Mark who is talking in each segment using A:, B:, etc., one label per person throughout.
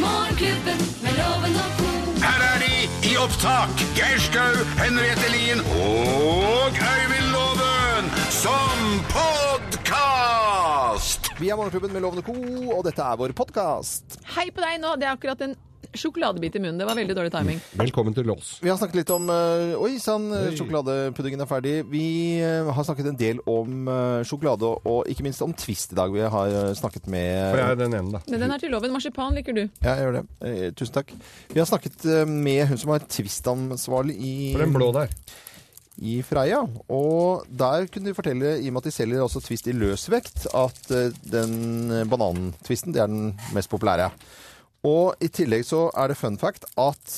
A: Morgenklubben med Loven og Co.
B: Her er de i opptak. Geir Skau, Henriette Lien og Øyvind Loven som podkast!
C: Vi er Morgenklubben med Lovende Co, og dette er vår podkast.
D: Hei på deg nå, det er akkurat en sjokoladebit i munnen. Det var veldig dårlig timing.
E: Velkommen til oss.
C: Vi har snakket litt om eh, Oi sann, eh, sjokoladepuddingen er ferdig. Vi eh, har snakket en del om eh, sjokolade, og ikke minst om Twist i dag. Vi har eh, snakket med
E: For jeg er den ene, da.
D: Men den er til loven. Marsipan liker du.
C: Ja, jeg gjør det. Eh, Tusen takk. Vi har snakket eh, med hun som er Twist-ansvarlig i,
E: For den blå der.
C: i Freia. Og der kunne de fortelle, i og med at de selger også Twist i løsvekt, at eh, den eh, banantwisten, det er den mest populære. Og i tillegg så er det fun fact at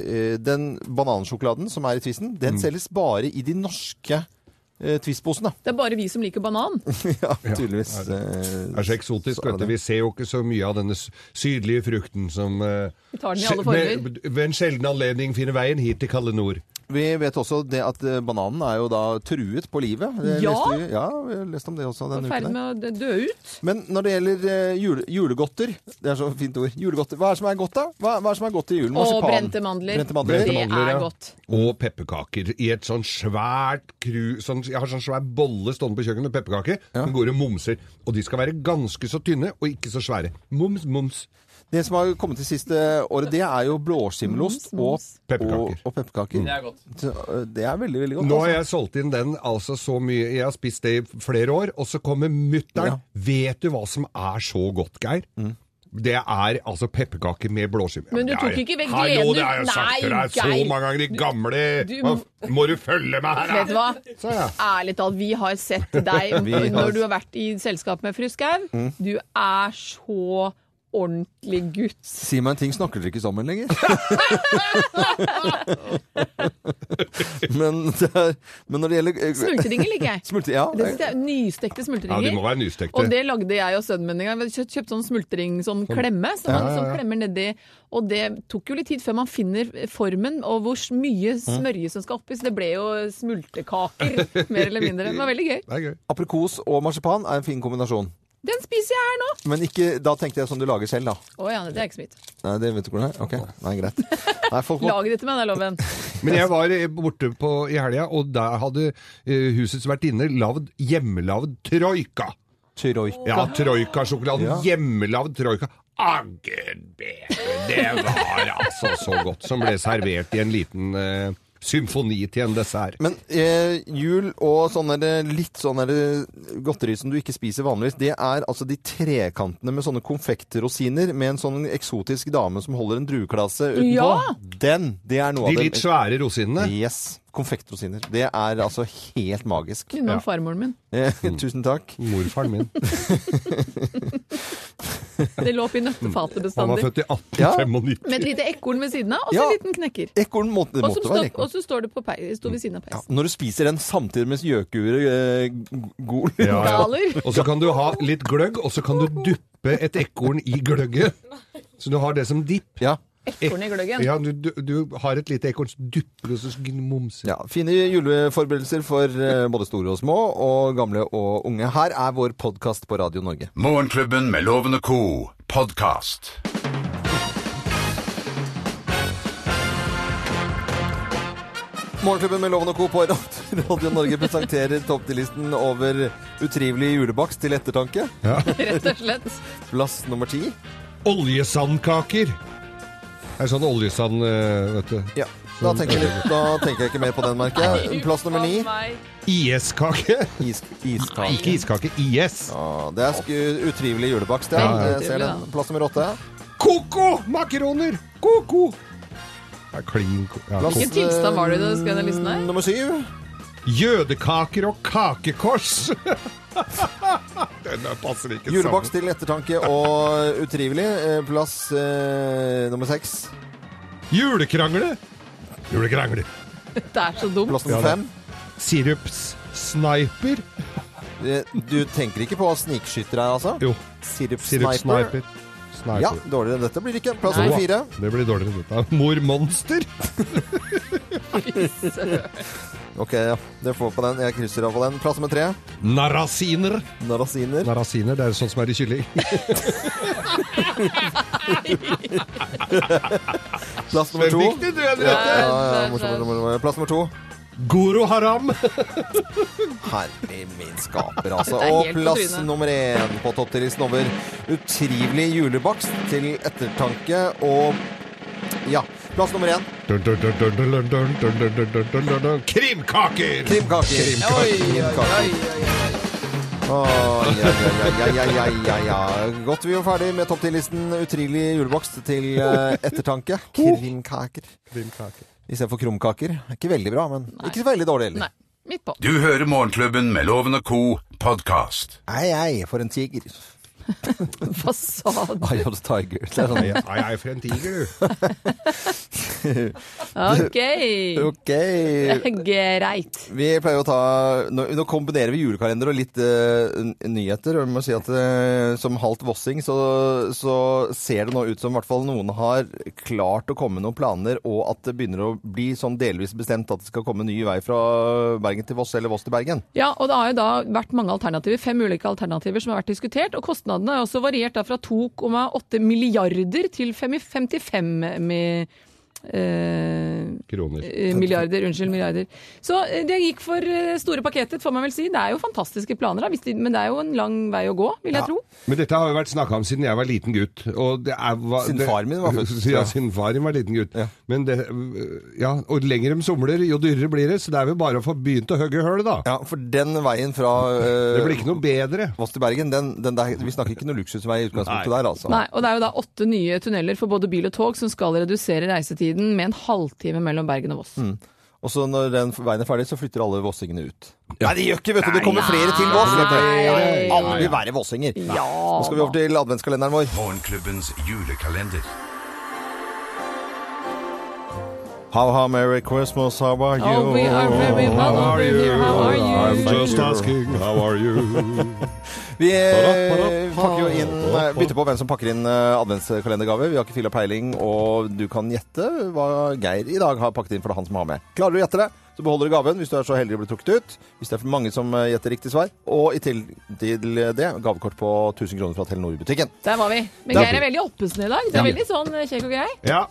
C: eh, den banansjokoladen som er i Twisten,
E: Mm.
C: den selges bare i de norske eh, Twist-posene.
D: Det er bare vi som liker banan.
C: ja, tydeligvis.
E: det Det
C: eh,
E: er så eksotisk,
C: er
E: vet du.
C: det.
E: Vi ser jo ikke så mye av denne s- sydlige frukten som eh,
D: Vi tar den i alle
E: sel-
D: former.
E: med- ved en sjelden anledning finner veien hit til kalde nord.
C: Eh, Vi vet også det at eh, bananen er jo da truet på livet. Det
D: Ja?
C: leste vi, ja, vi har lest om det også
D: Vi er
C: denne uken.
D: ferdig
C: her.
D: med å dø ut.
C: Men når det gjelder eh, jule, julegodter Det er så fint ord. Julegodter. Hva er det som er godt, da? Hva, hva er det som er godt til julen?
D: Og
C: Marsipan.
D: brente mandler.
C: Brente mandler.
D: Det
E: mandler,
D: er
E: ja.
D: godt.
E: Og pepperkaker i et sånn svært kru... Sånn, jeg har sånn svær bolle stående på kjøkkenet, pepperkaker, som går og momser. Og de skal være ganske så tynne, og ikke så svære. Moms, moms.
C: Det som har kommet det siste året, det er jo blåskimmelost og, og,
E: Pepperkaker.
C: og pepperkaker.
F: Det er godt.
C: Så, eh, Det er veldig, veldig godt.
E: Nå
C: altså.
E: har jeg solgt inn den altså så mye Jeg har spist det i flere år, og så kommer mutter'n.
C: Ja.
E: Vet du hva som er så godt, Geir? Det er altså pepperkaker med blåskive.
D: Mm. Men du
E: Det er-
D: tok ikke vekk gleden,
E: Hallo,
D: du-
E: det har jeg jo sagt til
D: Nei,
E: deg så
D: Geir.
E: mange ganger, de gamle
D: du-
E: Hva f- Må du følge meg her,
D: Vet du hva?
E: Sa jeg.
D: Ærlig talt, vi har sett deg
C: Vi har-
D: når du har vært i selskap med Fru Skau. Du er så ordentlig gutt.
C: Altså, Si meg en ting, snakker dere ikke sammen lenger? men, det er, men når det gjelder eh,
D: Smultringer liker jeg.
C: Smultring, ja.
D: Det synes jeg er Nystekte
E: Ja,
D: smultringer.
E: de må være nystekte.
D: Og det lagde jeg og sønnen min en gang. Vi kjøpt- Kjøpte sånn smultring, sånn klemme, som man
E: ja, ja.
D: Som klemmer nedi. Og det tok jo litt tid før man finner formen og hvor
C: Mm.
D: mye smørje som skal oppi, så det ble jo smultekaker, mer eller mindre. Det var veldig gøy.
E: Det er gøy.
C: Aprikos og marsipan er en fin kombinasjon.
D: Den spiser jeg her nå!
C: Men ikke, da tenkte jeg som du lager selv, da.
D: Å ja, det er ikke så mitt.
C: Nei, det vet du hvordan det er? Ok, nei, greit. Nei, folk må...
D: Lag det til meg, det er loven.
E: Men jeg var eh, borte på, i helga, og der hadde eh, husets vertinne lagd hjemmelagd troika.
C: Troika.
E: Ja, troikasjokoladen.
C: Ja.
E: Hjemmelagd troika. Aggen bedre! Det var altså så godt. Som ble servert i en liten eh, symfoni til en dessert.
C: Men eh, jul og sånne der- litt sånne der godteri som du ikke spiser vanligvis, det er altså de trekantene med sånne konfektrosiner med en sånn eksotisk dame som holder en drueklase utenpå.
D: Ja!
C: Den! Det er noe
E: De
C: av det
E: litt svære rosinene.
C: Yes. Konfektrosiner. Det er altså helt magisk.
D: Unna farmoren min.
E: Mm.
C: Eh, Tusen takk.
E: Morfaren min.
D: Det lå oppi
C: Mm.
D: nøttefatet
E: Han var
D: bestandig.
E: født i
C: Ja.
E: 1895.
D: Med et lite ekorn ved siden av, og så
C: Ja.
D: en liten knekker.
C: Ekorn må, det
D: Og som
C: måtte være
D: står-
C: en
D: og
C: ekorn.
D: så står det på pei, står ved siden av
C: Ja,
D: peisen.
C: når du spiser den samtidig med gjøkuret eh, gol
E: Ja, ja.
D: Galer.
E: Og så kan du ha litt gløgg, og så kan du duppe et ekorn i gløgget. Så du har det som dipp.
C: Ja.
D: Ekorn i gløggen.
E: Ja, du, du, du har et lite ekorn, så dupper du, og så momser
C: Ja, Fine juleforberedelser for eh, både store og små, og gamle og unge. Her er vår podkast på Radio Norge.
B: Morgenklubben med Loven og Co. podkast.
C: Morgenklubben med Loven og Co. på Radio Radio Norge presenterer topptillisten over utrivelig julebakst til ettertanke.
D: Rett og slett.
C: Plass nummer ti.
E: Oljesandkaker! Det er sånn oljesand, eh, vet du.
C: Ja, da tenker, jeg, litt- da tenker jeg ikke mer på den, merker jeg. Plass nummer ni.
E: IS-kake!
C: Is, iskake.
E: Ikke iskake, IS.
C: Ja, det er sku- utrivelig julebakst, ja.
D: Veldig
C: Jeg ser
D: utrivelig,
C: den. Plass nummer åtte.
E: Koko! Makaroner! Koko! Det er klin ko- ja,
C: Plass,
E: ko-
D: Hvilken tilstand var du i da du skrev den listen her?
C: eh, Nummer syv.
E: Jødekaker og kakekors! Den der passer ikke
C: Julebakst til ettertanke og utrivelig. Eh, Plass eh, nummer seks.
E: sammen. Julekrangle! Julekrangle.
D: Det er så dumt.
C: Plass nummer
E: Ja, da.
C: fem.
E: Sirups. Sniper.
C: Eh, Du tenker ikke på snikskytter her, altså?
E: Jo,
C: Sirupsniper.
E: sirupsniper. Sniper.
C: Ja, dårligere enn dette blir det ikke. Plass
D: Nei.
C: nummer fire.
E: Det blir dårligere enn dette. Mormonster.
C: Ok, ja. Det får på den. Jeg krysser av på den. Plass nummer tre.
E: Narasiner.
C: Narasiner.
E: Narasiner, det er sånn som er i kylling.
C: Plass nummer to.
E: Riktig, du, Henriette.
C: Ja, ja, ja, morsom, morsom, morsom. Plass nummer to.
E: Goro haram.
C: Herre min skaper, altså.
D: Det er
C: Og
D: helt på
C: plass
D: trynet.
C: nummer én på topptillisten over utrivelig julebakst til ettertanke og Ja. Plass nummer én.
E: Dun, dun, dun, dun, dun, dun, dun, dun, dun, dun, dun, dun, dun, dun. Krimkaker!
C: Krimkaker.
E: Krimkaker.
C: Krimkaker. Å, ja, ja, ja, ja, ja, ja, ja. Godt vi var ferdig med topptillisten utrivelig julebakst til eh, ettertanke. Krimkaker. Istedenfor krumkaker. Ikke veldig bra, men ikke så veldig dårlig heller.
D: Nei, midt på.
B: Du hører Morgenklubben med Loven og Co. podkast.
C: Ei, ei, for en tiger.
D: Hva sa du?
C: Eye of the tiger. Det er sånn.
E: Ai, ai, ai, for en tiger, du.
D: Ok,
C: Ok.
D: greit.
C: Vi pleier å ta Nå, nå kombinerer vi julekalender og litt eh, n- nyheter. Og vi må si at eh, som halvt vossing så, så ser det nå ut som i hvert fall noen har klart å komme med noen planer, og at det begynner å bli sånn delvis bestemt at det skal komme ny vei fra Bergen til Voss eller Voss til Bergen.
D: Ja, og det har jo da vært mange alternativer, fem ulike alternativer som har vært diskutert, og kostnadene har også variert da fra 2,8 milliarder til 55 med, eh,
E: Kroner.
D: eh, milliarder, unnskyld, milliarder. Så eh, det gikk for eh, store pakketter, får man vel si. Det er jo fantastiske planer, da, hvis de, men det er jo en lang vei å gå, vil jeg tro.
E: Men dette har jo vært snakka om siden jeg var liten gutt. Og det er, hva,
C: Siden
E: det-
C: far min var født.
E: Ja, siden far min var liten gutt.
C: Ja.
E: Men det, ja, og lenger de somler, jo dyrere blir det. Så det er vel bare å få begynt å hogge høl, da.
C: Ja, for den veien fra eh,
E: Det blir ikke noe bedre.
C: Voss til Bergen, den, den der, vi snakker ikke noe luksusvei i utgangspunktet
E: Nei.
C: der, altså.
D: Nei, og det er jo da åtte nye tunneler for både bil og tog som skal redusere reisetiden med en halvtime mellom Bergen og Voss.
C: Og så når den veien er ferdig, så flytter alle vossingene ut. Nei, det gjør ikke, vet du. Det kommer flere til Voss. vet du.
E: Nei.
C: Alle vil være vossinger. Nå skal vi over til adventskalenderen vår.
B: Morgenklubbens julekalender.
C: How, how, merry Christmas, how are you?
D: Oh, we are very well
E: How are you?
D: How are you?
E: I'm just asking, how are you?
C: Vi eh,
E: Ba-da, ba-da.
C: pakker jo inn, nei, bytter på hvem som pakker inn eh, adventskalendergave. Vi har ikke filla peiling, og du kan gjette hva Geir i dag har pakket inn, for det er han som har med. Klarer du å gjette det, så beholder du gaven hvis du er så heldig å bli trukket ut. Hvis det er for mange som eh, gjetter riktig svar. Og i tillegg til det, gavekort på 1000 kroner fra Telenor-butikken.
D: Der var vi. Men
C: Der-
D: Geir er veldig oppesen i dag. Det
C: Ja.
D: er veldig sånn eh, kjekk og grei.
E: Ja.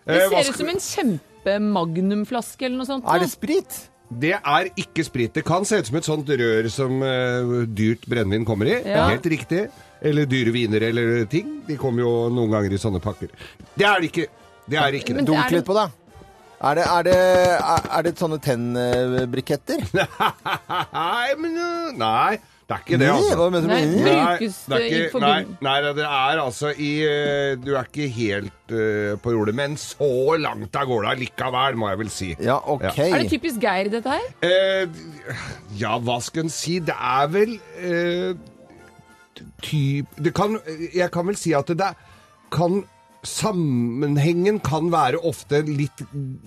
D: Det
E: Eh, hva
D: ser ut
E: skal-
D: som en kjempemagnumflaske eller noe sånt.
C: Er
D: nå.
C: det sprit?
E: Det er ikke sprit. Det kan se ut som et sånt rør som eh, dyrt brennevin kommer i.
D: Ja.
E: Helt riktig. Eller dyre viner eller ting. De kommer jo noen ganger i sånne pakker. Det er det ikke. Det er ikke det.
D: Men-
C: Dunk
D: Er det-
C: litt på det. Er det, er det, er er det sånne eh, tennbriketter?
E: Nei, men eh, Nei, det er ikke det,
C: Nei,
E: altså.
C: hva mener du
D: Nei,
C: med det?
D: bruk-
E: Nei,
D: Brukes
E: det er
D: det i
E: ikke, nei,
D: forbund-
E: nei, det er altså i eh, Du er ikke helt eh, på jordet, men så langt av gårde allikevel, må jeg vel si.
C: Ja, ok.
D: Er det typisk Geir, dette her?
E: Eh, ja, hva skal en si? Det er vel eh, typ, det kan, Jeg kan vel si at det kan Sammenhengen kan være ofte litt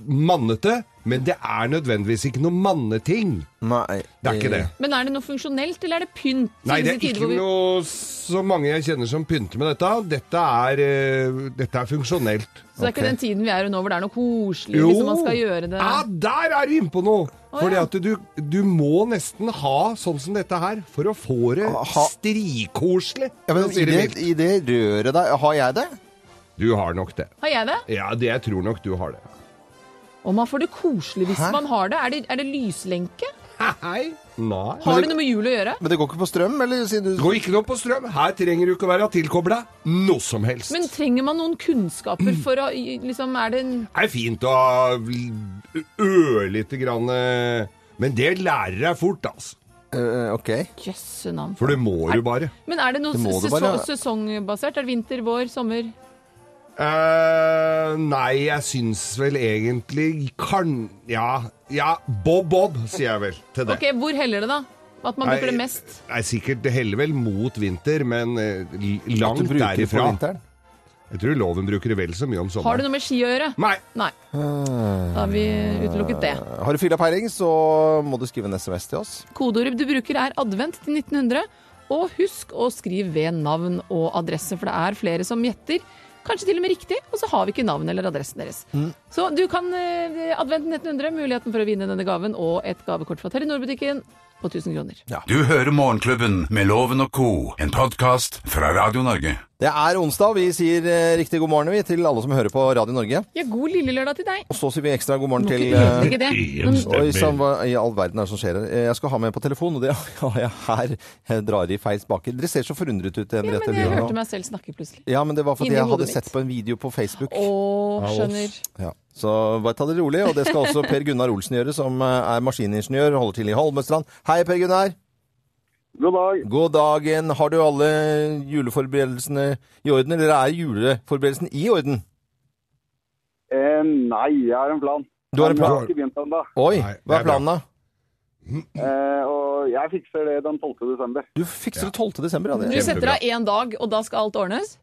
E: mannete, men det er nødvendigvis ikke noe manneting.
C: Nei.
E: Det er ikke det.
D: Men er det noe funksjonelt, eller er Eh, det pynt?
E: Nei,
D: Siden
E: det er
D: til tider
E: ikke
D: hvor vi-
E: noe så mange jeg kjenner som pynter med dette. Dette er, eh, dette er funksjonelt.
D: Så det er ikke
C: Ok. Ah.
D: den tiden vi er i nå hvor det er noe koselig, liksom man skal gjøre det.
E: Ja, der er du inne på noe! Fordi
D: ja.
E: at du, du må nesten ha sånn som dette her for å få det
C: Ah, Ha-
E: strikoselig.
C: Ja, men
E: for å
C: i
E: si det
C: det,
E: mildt.
C: I det røret der, har jeg det?
E: Du har nok det.
D: Har jeg det?
E: Ja, det jeg tror nok du har det.
D: Og man får det koselig hvis
C: Hæ?
D: man har det. Er det, er det lyslenke?
E: Hei? Nei.
D: Har
C: det-
D: det noe med jul å gjøre?
C: Men det går ikke på strøm, eller? Siden
E: Det
C: du...
E: går ikke noe på strøm. Her trenger du ikke å være tilkobla noe som helst.
D: Men trenger man noen kunnskaper for å liksom, Er det en
E: Det er fint å ha l- ørlite grann eh, Men det lærer deg fort, altså.
C: Eh, ok.
D: Jøsse navn.
E: For det må du bare.
D: Men er det noe
C: Det må du
D: sesong,
C: bare-
D: sesongbasert? Er det vinter, vår, sommer?
E: eh nei, jeg syns vel egentlig kan Ja, ja Bob Bob, sier jeg vel til det.
D: Ok, Hvor heller det, da? At man
E: Nei,
D: bruker det mest?
E: Nei, sikkert det heller vel mot vinter, men eh, l-
C: At du
E: langt
C: bruker det på
E: derifra.
C: vinteren.
E: Jeg tror loven bruker det vel så mye
D: Har
E: om
D: det
E: sommeren.
D: noe med ski å gjøre?
E: Nei,
D: Nei. Da har vi utelukket det.
C: Har du fylla peiling, så må du skrive en SMS til oss.
D: Kodeordet du bruker er advent til 1900. Og husk å skrive ved navn
C: Mm.
D: og adresse, for det er flere som gjetter. Kanskje til og med riktig, og så har vi ikke navnet eller adressen deres. Så du kan eh, Adventen 1900, muligheten for å vinne denne gaven og et gavekort fra Telenor-butikken på 1000 kroner.
B: Du hører Morgenklubben med Loven og co., en podkast fra Radio Norge.
C: Det er onsdag. Vi sier eh, riktig god morgen vi, til alle som hører på Radio Norge.
D: Ja, god lille lørdag til deg.
C: Og så sier vi ekstra god morgen
D: Må
C: til
D: ikke ødelegge
C: eh,
D: det.
C: Oi sann, hva i all verden er det som skjer her? Eh, Jeg skal ha med på telefon, og det har jeg her. Jeg drar i feil spaker. Dere ser så forundret ut,
D: Ja,
C: Henriette.
D: men jeg
C: Lyra, nå.
D: hørte meg selv snakke plutselig.
C: Ja, men det var fordi
D: Inni
C: jeg hadde
D: hodet mitt.
C: sett på en video på Facebook.
D: Å, skjønner.
C: Ja. Så bare ta det rolig, og det skal også Per Gunnar Olsen gjøre, som eh, er maskiningeniør og holder til i Holmestrand. Hei, Per Gunnar.
F: God dag.
C: God dagen. Har du alle juleforberedelsene i orden, eller er juleforberedelsen i orden?
F: Eh, nei, jeg har en plan.
C: Du har en
F: Men Jeg
C: plan?
F: har ikke begynt ennå.
C: Oi,
E: Nei, det
C: hva
E: er
C: er planen da?
F: Eh, og jeg fikser det den 12. desember.
C: Du fikser det 12. desember, ja.
D: Du
C: Det.
D: setter av én dag, og da skal alt ordnes?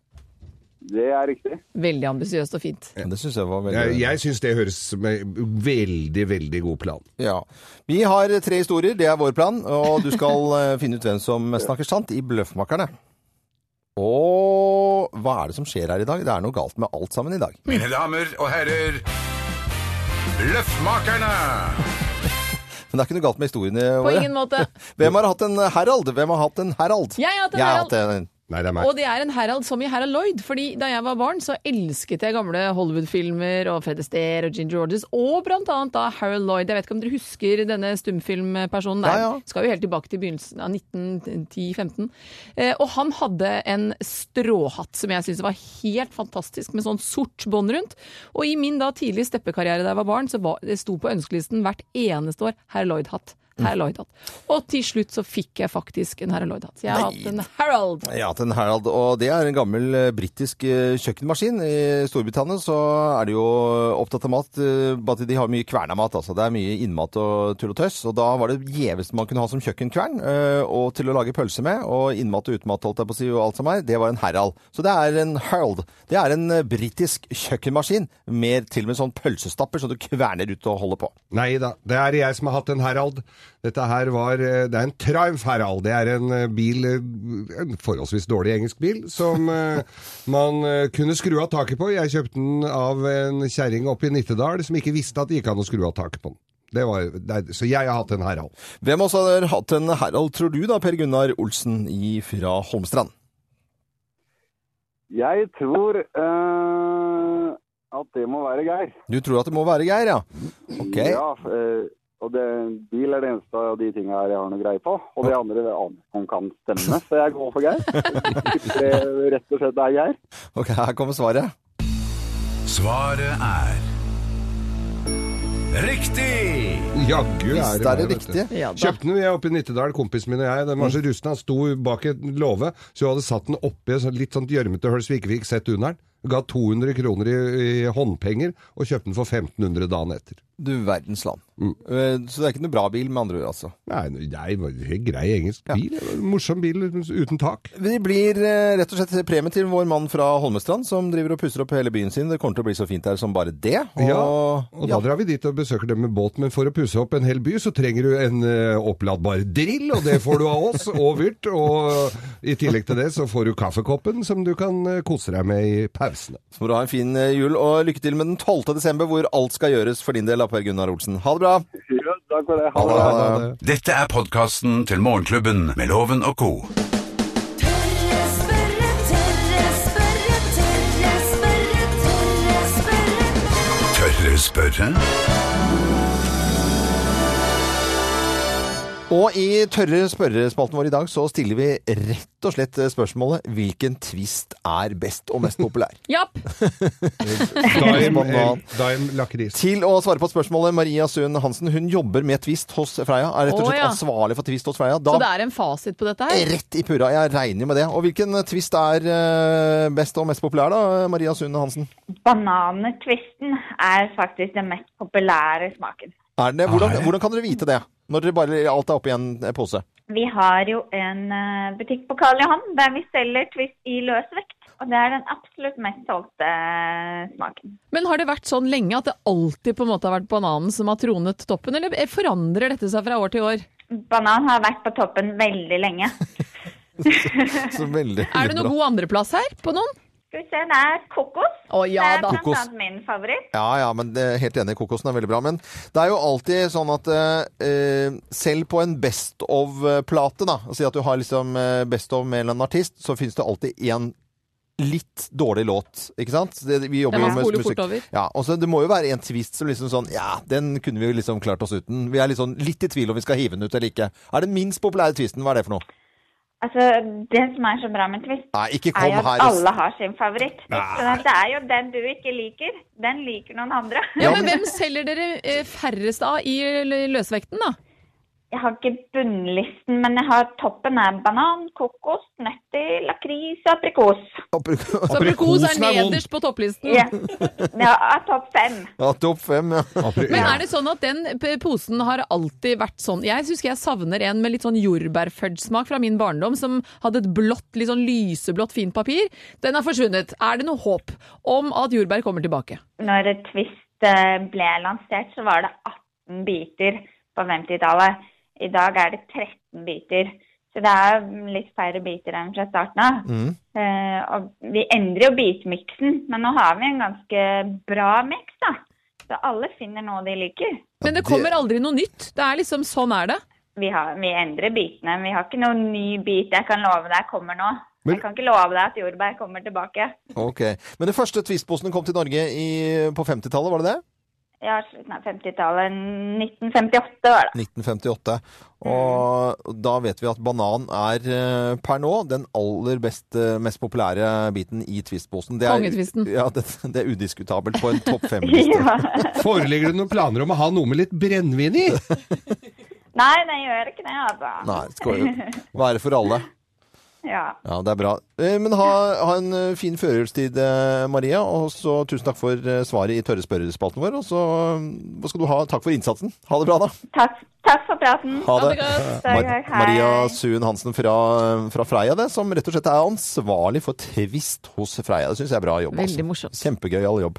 F: Det er riktig.
D: Veldig ambisiøst og fint.
C: Ja, Det syns jeg var
E: Jeg,
C: veldig
E: jeg syns det høres som en veldig, veldig god plan.
C: ja. Vi har tre historier, det er vår plan, og du skal eh, finne ut hvem som snakker sant i Bløffmakerne. Og hva er det som skjer her i dag? Det er noe galt med alt sammen i dag.
B: Mine damer og herrer, Løffmakerne!
C: Men det er ikke noe galt med historiene
D: På
C: våre.
D: ingen måte.
C: Hvem har hatt en Herald? Hvem har hatt en Herald?
D: Jeg har hatt en
C: Jeg
D: Harald.
C: en-
E: Nei, det er meg.
D: Og det er en Harald som i Harald Lloyd, fordi da jeg var barn så elsket jeg gamle Hollywood-filmer og Fred Astaire og Ginger Rogers, og blant annet da Harold Lloyd. Jeg vet ikke om dere husker denne stumfilmpersonen der.
C: Ja, ja.
D: Skal jo helt tilbake til begynnelsen av 1910-15. Eh, og han hadde en stråhatt som jeg syntes var helt fantastisk, med sånn sort bånd rundt. Og i min da tidlige steppekarriere da jeg var barn, så var, det sto på ønskelisten hvert eneste år Harold Lloyd-hatt. Harold Lloyd-hatt. Og til slutt så fikk jeg faktisk en Harold Lloyd-hatt. Så Jeg har
C: Nei.
D: hatt en Harold.
C: Jeg har hatt en Herald, og det er en gammel eh, britisk eh, kjøkkenmaskin. I Storbritannia så er de jo opptatt av mat, eh, bare at de har mye kvernamat, altså. Det er mye innmat og tull og tøss, og da var det gjeveste man kunne ha som kjøkkenkvern, eh, og til å lage pølse med, og innmat og utmat, holdt jeg på å si, og alt som er, det var en Herald. Så det er en Herald. Det er en eh, britisk kjøkkenmaskin, mer til og med sånn pølsestapper, så du kverner ut og holder på.
E: Nei da, det er jeg som har hatt en Herald. Dette her var eh, Det er en Triumph Herald. Det er en eh, bil, eh, en forholdsvis dårlig engelsk bil, som eh, man eh, kunne skru av taket på. Jeg kjøpte den av en kjerring oppe i Nittedal som ikke visste at det gikk an å skru av taket på den. Det var, nei, så jeg har hatt en Herald.
C: Hvem også har hatt en Herald, tror du da, Per Gunnar Olsen i- fra Holmstrand?
F: Jeg tror eh, at det må være Geir.
C: Du tror at det må være Geir, ja? Ok.
F: Ja, f- eh, og det, bil er det eneste av de tinga her jeg har noe greie på. Og det andre det aner jeg ikke om kan stemme, så jeg går for Geir. Det rett og slett er Geir.
C: Ok, her kommer svaret.
B: Svaret er Riktig!
E: Jaggu
C: Hvis det
E: er
C: er
E: det
C: det
E: meg, vet du.
C: riktige.
D: Ja, da. Mm.
E: Kjøpte den vi er oppe i Nittedal, kompisen min og jeg. Den var så rusten, han sto bak et låve, så hun hadde satt den oppi et sånt litt sånt gjørmete høl så vi ikke fikk sett under den. Ga 200 kroner i, i håndpenger, og kjøpte den for 1500 dagen etter.
C: Du verdens land. Eh, Så det er ikke noe bra bil, med andre ord, altså.
E: Nei, nei, det var en grei engelsk bil. Det var en Morsom bil uten tak.
C: Det blir eh, rett og slett premie til vår mann fra Holmestrand, som driver og pusser opp hele byen sin. Det kommer til å bli så fint der som bare det. Og,
E: Ja, og da
C: ja.
E: drar vi dit og besøker dem med båt, men for å pusse opp en hel by, så trenger du en eh, oppladbar drill, og det får du av oss, og Vyrt. Og i tillegg til det så får du kaffekoppen som du kan eh, kose deg med i pausene.
C: Så må du ha en fin eh, jul, og lykke til med den 12. desember, hvor alt skal gjøres for din del, da, Per Gunnar Olsen. Ha det bra!
F: Ja, takk for det. Ha det.
C: Ha det.
B: Dette er podkasten til Morgenklubben med Loven og co.
A: Tørre spørre, tørre spørre, tørre spørre, tørre spørre.
B: Tørre spørre?
C: Og i tørre spørrespalten vår i dag så stiller vi rett og slett spørsmålet hvilken twist er best og mest populær?
D: Japp!
E: Daim,
C: Banan.
E: eh, daim lakris.
C: Til å svare på spørsmålet, Maria Sund Hansen hun jobber med twist hos Freia. Er rett og
D: Å,
C: slett
D: ja.
C: ansvarlig for twist hos Freia.
D: Så det
C: Da
D: er en fasit på dette her?
C: rett i purra. Jeg regner jo med det. Og hvilken twist er eh, best og mest populær, da, Maria Sund Hansen?
G: Banantvisten er faktisk den mest populære smaken.
C: Er det, hvordan, hvordan kan dere vite det? Når dere bare alt er oppi en eh, pose?
G: Vi har jo en eh, butikk på Karl Johan der vi selger Twist i løsvekt. Og det er den absolutt mest solgte eh, smaken.
D: Men har det vært sånn lenge at det alltid på en måte har vært bananen som har tronet toppen, eller eh, forandrer dette seg fra år til år?
G: Banan har vært på toppen veldig lenge.
C: Så veldig
D: Er det noe
C: bra.
D: god andreplass her på noen?
G: Skal vi se, det er kokos.
D: Å ja
G: det
D: da.
G: er
C: Kokos.
G: blant annet min favoritt.
C: Ja, ja, men det, helt enig, kokosen er veldig bra. Men det er jo alltid sånn at eh, eh, selv på en best of-plate, da, si at du har liksom eh, best of med en eller annen artist, så finnes det alltid én litt dårlig låt, ikke sant? Det, vi jobber
D: Den
C: jo
D: man
C: med
D: spoler
C: musikk.
D: fort over.
C: Ja, og så det må jo være en twist som liksom sånn, ja, den kunne vi jo liksom klart oss uten. Vi er liksom litt i tvil om vi skal hive den ut eller ikke. Er den minst populære twisten, hva er det for noe?
G: Altså, det som er så bra med Twist,
C: Nei, ikke
G: er
C: kom
G: jo at
C: her og...
G: alle har sin favoritt. Så det er jo den du ikke liker, den liker noen andre.
D: Ja, men hvem selger dere eh, færrest av i l- løsvekten, da?
G: Jeg har ikke bunnlisten, men jeg har toppen er banan, kokos, nøtter, lakris og aprikos.
C: Altså,
D: Så aprikos er nederst på topplisten.
G: Ja, det er topp fem.
C: Ja, topp fem, ja.
D: Men er det sånn at den p- posen har alltid vært sånn? Jeg husker jeg savner en med litt sånn jordbærfudge-smak fra min barndom, som hadde et blått, litt sånn lyseblått fint papir. Den har forsvunnet. Er det noe håp om at jordbær kommer tilbake?
G: Når Twist eh, ble lansert, så var det 18 biter på 50-tallet. I dag er det 13 biter. Så det er litt færre biter enn fra starten av. Eh, og vi endrer jo bitmiksen, men nå har vi en ganske bra miks, da. Så alle finner noe de liker.
D: Men det
C: det-
D: kommer aldri noe nytt. Det er liksom sånn er det.
G: Vi, har, vi endrer bitene. Vi har ikke noen ny bit jeg kan love deg kommer nå.
E: Men-
G: Jeg kan ikke love deg at jordbær kommer tilbake.
C: Ok. Men den første twistposen kom til Norge i, på 50-tallet, var det det?
G: Ja, slutten av 50-tallet. 1958 var det.
C: 1958. Og da vet vi at banan er eh, per nå den aller beste, mest populære biten i Twist-posen. Det er-
D: Kongetvisten.
C: Ja, det, det er udiskutabelt på en topp fem-liste.
G: Ja.
E: Foreligger det noen planer om å ha noe med litt brennevin i?
G: Nei, det gjør ikke det, altså.
C: Nei, det skal jo være for alle.
G: Ja.
C: Ja, det er bra. Eh, Men ha, ha en eh, fin førjulstid, eh, Maria. Og så tusen takk for eh, svaret i tørre spørrespalten vår. Og så eh, skal du ha takk for innsatsen. Ha det bra, da.
G: Takk, takk for praten.
C: Ha det.
D: godt.
G: Takk,
C: Mar
G: hei.
C: Maria Suen Hansen fra, fra Freia, det, som rett og slett er ansvarlig for Tvist hos Freia. Det syns jeg er bra jobb.
D: Veldig morsomt.
C: Kjempegøyal jobb.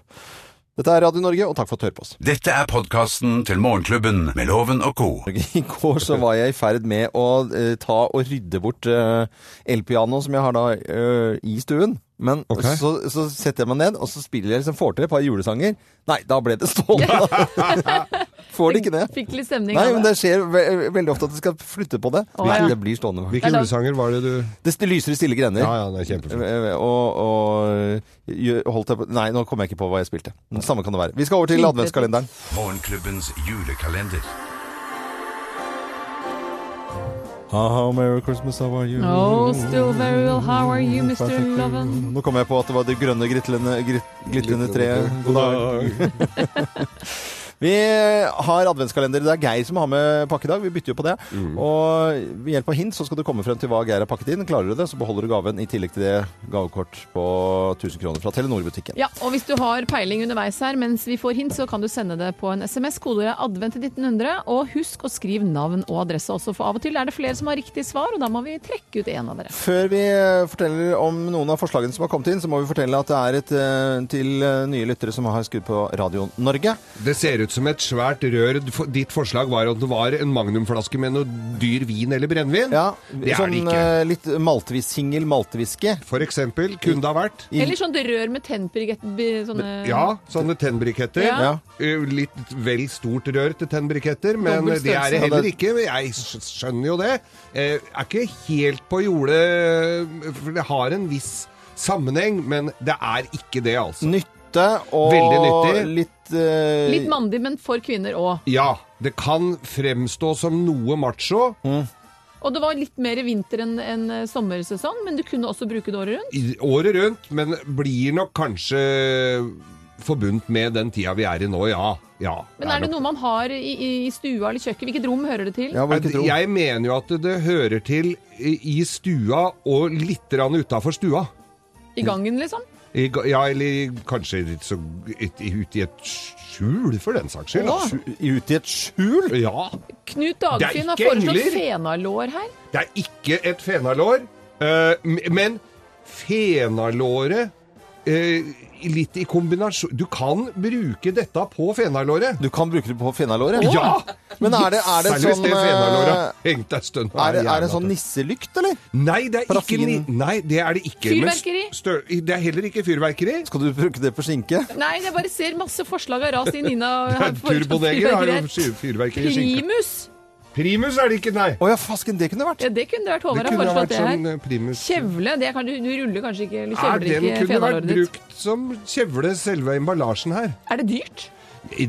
C: Dette er Radio Norge, og takk for at du hører på oss.
B: Dette er podkasten til Morgenklubben med Loven og co.
C: I går så var jeg i ferd med å eh, ta og rydde bort eh, elpianoet som jeg har da eh, i stuen. Men
E: Ok.
C: så, så setter jeg meg ned, og så spiller jeg liksom får til et par julesanger. Nei, da ble det stående! Får det ikke det?
D: Fikk litt stemning
C: Nei,
D: av
C: men
D: det.
C: det skjer ve veldig ofte at det skal flytte på det.
D: Å, ja.
C: Nei, det blir stående.
E: Hvilke
D: Nei, da-
E: julesanger var det du
C: Det st- lyser i stille grener.
E: Ja, ja, det er kjempefint.
C: Eh, Og, og eh, gjø- holdt jeg på Nei, nå kom jeg ikke på hva jeg spilte. Men Samme kan det være. Vi skal over til adventskalenderen.
B: Morgenklubbens julekalender.
C: How Merry Christmas, how are you?
D: Oh, still very well. How are you, Mr. Loven?
C: Nå kom jeg på at det var det grønne gritlende, grit- glitrende treet. God dag. Vi har adventskalender. Det er Geir som har med pakke i dag. Vi bytter jo på det. Og ved hjelp av hint så skal du komme frem til hva Geir har pakket inn. Klarer du det, så beholder du gaven. I tillegg til det gavekort på 1000 kroner fra Telenor-butikken.
D: Ja, og hvis du har peiling underveis her mens vi får hint, så kan du sende det på en SMS, kodeordet advent til 1900, og husk å skrive navn og adresse også, for av og til er det flere som har riktig svar, og da må vi trekke ut en av dere.
C: Før vi eh, forteller om noen av forslagene som har kommet inn, så må vi fortelle at det er et eh, til eh, nye lyttere som har skrudd på Radio Norge.
E: Det ser ut som et svært rør. For- Ditt forslag var at det var en magnumflaske med noe dyr vin eller brennevin.
C: Ja,
E: det er
C: sånn
E: det ikke.
C: eh, litt maltvis, singel maltviske.
E: For eksempel kunne det ha vært
C: I-
D: Eller sånt rør med tennbrikett... b- Sånne...
E: ja, sånne
D: Eh,
E: tennbriketter.
D: Ja.
C: Ja.
E: Eh, Litt vel stort rør til tennbriketter, men
D: Dobbel
E: det er det
D: størrelse.
E: heller ikke. Men Jeg skj- skjønner jo det. Eh, er ikke helt på jordet, for det har en viss sammenheng, men det er ikke det, altså.
C: Nytte og
E: Veldig nyttig.
C: litt eh,
D: Litt mandig, men for kvinner òg.
E: Ja, det kan fremstå som noe macho,
D: Og det var litt mer vinter enn enn sommersesong, men du kunne også bruke det året rundt.
E: i- året rundt, men blir nok kanskje forbundt med den tida vi er i nå, ja. ja
D: Men er det
E: nok-
D: noe man har i, i- i stua eller kjøkken? Hvilket rom hører det til?
C: Ja, hva ikke tro.
E: Jeg mener jo at det hører til i i stua og litt utafor stua.
D: I gangen, liksom?
E: I, ga- ja, eller kanskje litt så, et, ut i et skjul, for den saks skyld.
D: Åh.
C: Ut i et skjul?
E: Ja.
D: Knut
E: Det er
D: Dagfinn har
E: ikke
D: foreslått
E: engler.
D: fenalår her.
E: Det er ikke et fenalår, eh, m- men fenalåret eh, litt i kombinasjon Du kan bruke dette på fenalåret.
C: Du kan bruke det på fenalåret?
E: Ja!
C: Men er det, er det
E: Særlig hvis
C: sånn
E: det fenalåret
C: eh,
E: hengte en stund.
C: er det, er
E: Jævla
C: det sånn
E: tøft.
C: nisselykt, eller?
E: Nei, det er ikke,
C: Parafin?
E: ni- nei, det er det ikke. Men s-
D: Fyrverkeri?
E: stø- Det er heller ikke fyrverkeri.
C: Skal du bruke det på skinke?
D: Nei, jeg bare ser masse forslag av ras i Nina. har foreslått
E: Turboneger har
D: fyrverkeri
E: jo
D: her.
E: fyr- fyrverkeri. i skinke.
D: Primus!
E: Primus er det ikke, nei.
C: Å ja, fasken, det kunne det vært.
D: Ja, det kunne det vært.
E: Det
D: Håvard har
E: kunne ha
D: foreslått
E: vært
D: det
E: sånn
D: her.
E: eh, primus.
D: Kjevle, det kan du, du ruller kanskje ikke eller
E: Er
D: kjevler
E: den
D: ikke
E: kunne vært
D: fenalåret ditt.
E: brukt som kjevle, selve emballasjen her.
D: Er det dyrt?